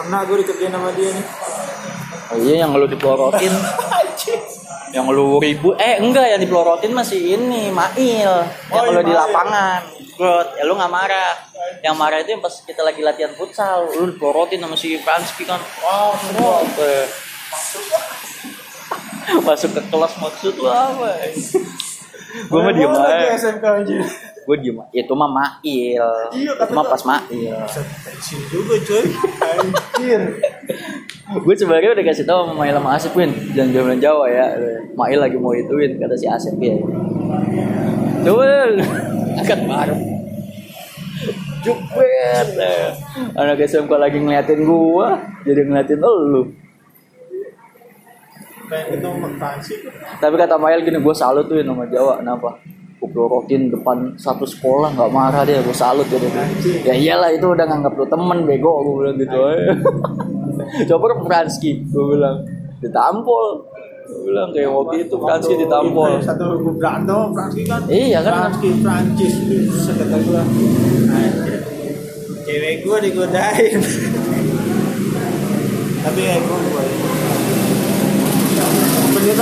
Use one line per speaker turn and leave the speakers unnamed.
Pernah gue dikerjain sama dia nih.
Oh iya yang lu dipelorotin Yang lu ribu Eh enggak yang dipelorotin masih ini Mail Yang
Oh, iya,
lu di
Mail.
lapangan Grot Ya lu gak marah Yang marah itu yang pas kita lagi latihan futsal Lu dipelorotin sama si Franski kan
Wow, semua.
Eh. Masuk ke kelas maksud lu apa eh? Gue mah diem
Lagi
aja
SMK anjir.
Gue diem aja. Itu mah mail
Iya,
Itu
kata
mah
gua. Iya.
pas mail
Pensiun juga coy. Anjir.
gue sebenarnya udah kasih tau sama Mail sama Asep Win jangan jalan Jawa ya Mail lagi mau ituin kata si Asep ya coba deh, angkat baru jubet eh. anak SMK lagi ngeliatin gua jadi ngeliatin lu
Pengen ketemu Pansi.
tapi kata Mail gini gue salut tuh sama Jawa kenapa gue pelorotin depan satu sekolah nggak marah dia gue salut ya dia ya iyalah itu udah nganggap lu temen bego gue bilang gitu aja coba ke Franski gue bilang ditampol gue bilang kayak waktu itu Franski ditampol
Iya, Satu gue Brando, Franski kan.
Iya, kan?
Franski, Francis. Sekata gue. Anjir. Cewek gue digodain. Tapi ya gue gue.